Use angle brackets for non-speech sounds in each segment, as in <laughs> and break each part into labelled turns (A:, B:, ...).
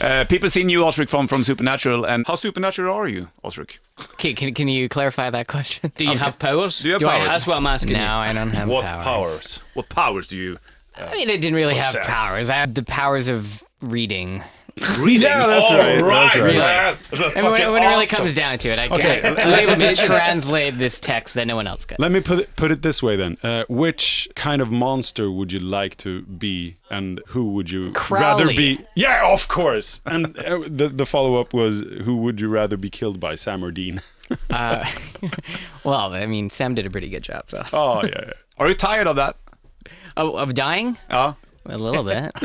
A: Uh, people see new Osric from, from Supernatural, and how supernatural are you, Osric?
B: Can, can, can you clarify that question?
C: Do you have powers?
A: Do you have
B: I
A: powers?
C: That's what I'm asking.
B: No, I don't have
D: What
B: powers.
D: powers?
A: What powers do you?
B: I mean, I didn't really have
D: Possess.
B: powers. I had the powers of reading.
D: Reading. Yeah, Oh, that's
E: right, that's right.
D: man. That's
B: I mean, when,
D: fucking
B: when it really
D: awesome.
B: comes down to it, I,
E: Okay,
B: I,
E: l-
B: I'm able to translate this text that no one else could.
E: Let me put it, put it this way then. Uh, which kind of monster would you like to be, and who would you rather
B: Crowley.
E: be? Yeah, of course. And uh, the the follow up was, who would you rather be killed by, Sam or Dean?
B: Uh, well, I mean, Sam did a pretty good job, so.
E: <laughs> Oh yeah, yeah.
A: Are you tired of that?
B: Oh, of dying?
A: Uh,
B: A little bit. <laughs>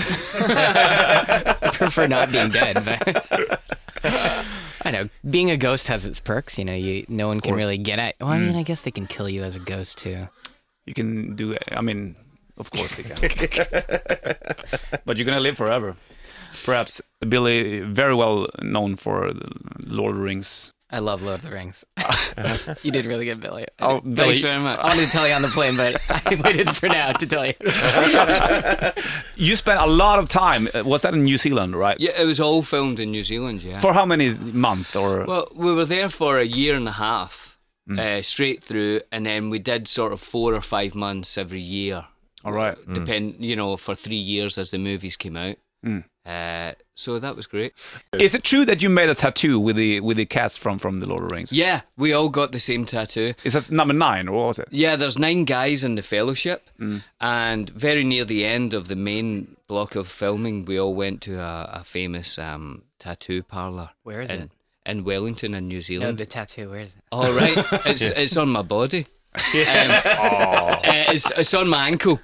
B: prefer not being dead, but <laughs> I know being a ghost has its perks. You know, you no one can really get at. Well, I mean, I guess they can kill you as a ghost too.
A: you can do. I mean, of course they
D: <laughs>
A: can. but you're gonna live forever. Perhaps Billy, very well known for the Lord of the Rings.
B: I love Lord of the <laughs> Rings. you did really good, Billy.
A: Oh, Billy.
B: Thanks very much. I wanted to tell you on the plane, but <laughs> I waited for now to tell you.
A: You spent a lot of time. uh, Was that in New Zealand, right?
C: Yeah, it was all filmed in New Zealand. Yeah.
A: For how many months or?
C: well, we were there for a year and a half,
B: Mm.
C: uh, straight through, and then we did sort of four or five months every year.
A: all right.
B: Mm.
C: depend you know for three years as the movies came out
B: Mm.
C: uh, so that was great
A: Is it true that you made a tattoo with the with the cast from from the Lord of the Rings?
C: yeah we all got the same tattoo
A: Is that number nine or what was it?
C: yeah there's nine guys in the fellowship
B: Mm.
C: and very near the end of the main block of filming we all went to a, a famous um, tattoo parlor
B: Where is
C: in,
B: it?
C: in wellington in new
B: No,
C: zealand
B: the tattoo. Where is it?
C: all
D: <laughs>
C: right it's, it's on my body Um, uh, it's, it's on my
D: Mm.
C: ankle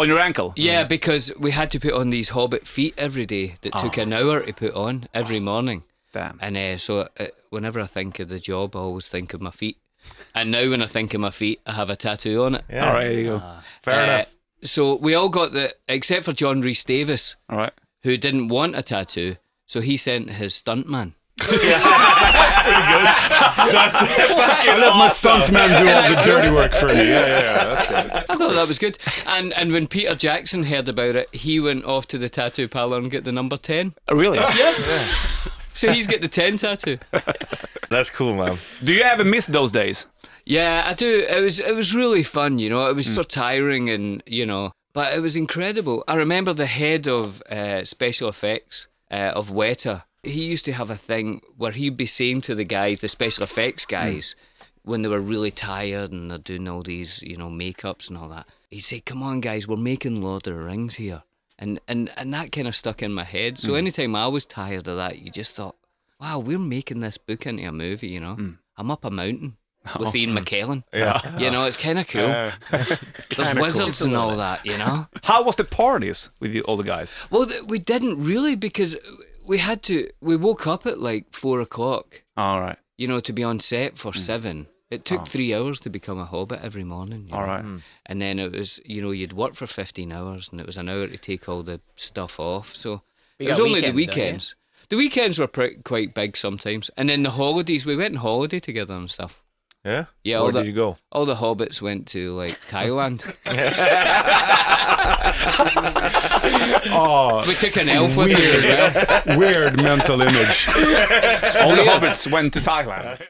A: On your ankle?
C: Yeah, because we had to put on these hobbit feet every day that took
D: Ah.
C: an hour to put on every morning.
A: Damn.
C: And uh, so uh, whenever I think of the job, I always think of my feet. And now when I think of my feet, I have a tattoo on it.
A: All right. There you go.
D: Fair
C: Uh,
D: enough.
C: So we all got the, except for John Rhys Davis,
A: all right.
C: who didn't want a tattoo. So he sent his stuntman.
E: I let my stuntman do all the dirty work for <laughs> me. Yeah, yeah, yeah. That's good.
C: I thought that was good. And and when Peter Jackson heard about it, he went off to the tattoo parlor and got the number 10.
A: Oh, really?
C: So he's got the 10 tattoo.
D: That's cool, man.
A: Do you ever miss those days?
C: Yeah, I do. It was it was really fun, you know. It was so tiring, and you know, but it was incredible. I remember the head of uh, special effects uh, of Weta. He used to have a thing where he'd be saying to the guys, the special effects guys, when they were really tired and they're doing all these, you know, makeups and all that. He'd say, "Come on, guys, we're making Lord of the Rings here," and and and that kind of stuck in my head. So anytime I was tired of that, you just thought, "Wow, we're making this book into a movie," you know. I'm up a mountain
A: Oh.
C: with
A: <laughs>
C: Ian McKellen.
D: Yeah.
C: You know, it's kind of cool. <laughs> There's wizards and all that, you know.
A: How was the parties with you, all the guys?
C: well, th- we didn't really because we had to. We woke up at like four o'clock,
A: All right.
C: you know, to be on set for
A: Hmm.
C: seven. It took three hours to become a hobbit every morning. you
A: Oh. All
C: know.
A: right.
B: Hmm.
C: And then it was, you know, you'd work for fifteen hours, and it was an hour to take all the stuff off. So
B: But you
C: it was
B: got
C: only the
B: weekends, don't you?
C: weekends. The weekends were pre- quite big sometimes, and then the holidays. We went on holiday together and stuff.
D: Yeah.
C: Yeah,
D: Where
C: all the-
D: did you go?
C: All the hobbits went to like Thailand.
E: Oh,
C: we took an elf with us as well.
E: weird Oh, mental image.
A: All the hobbits went to Thailand.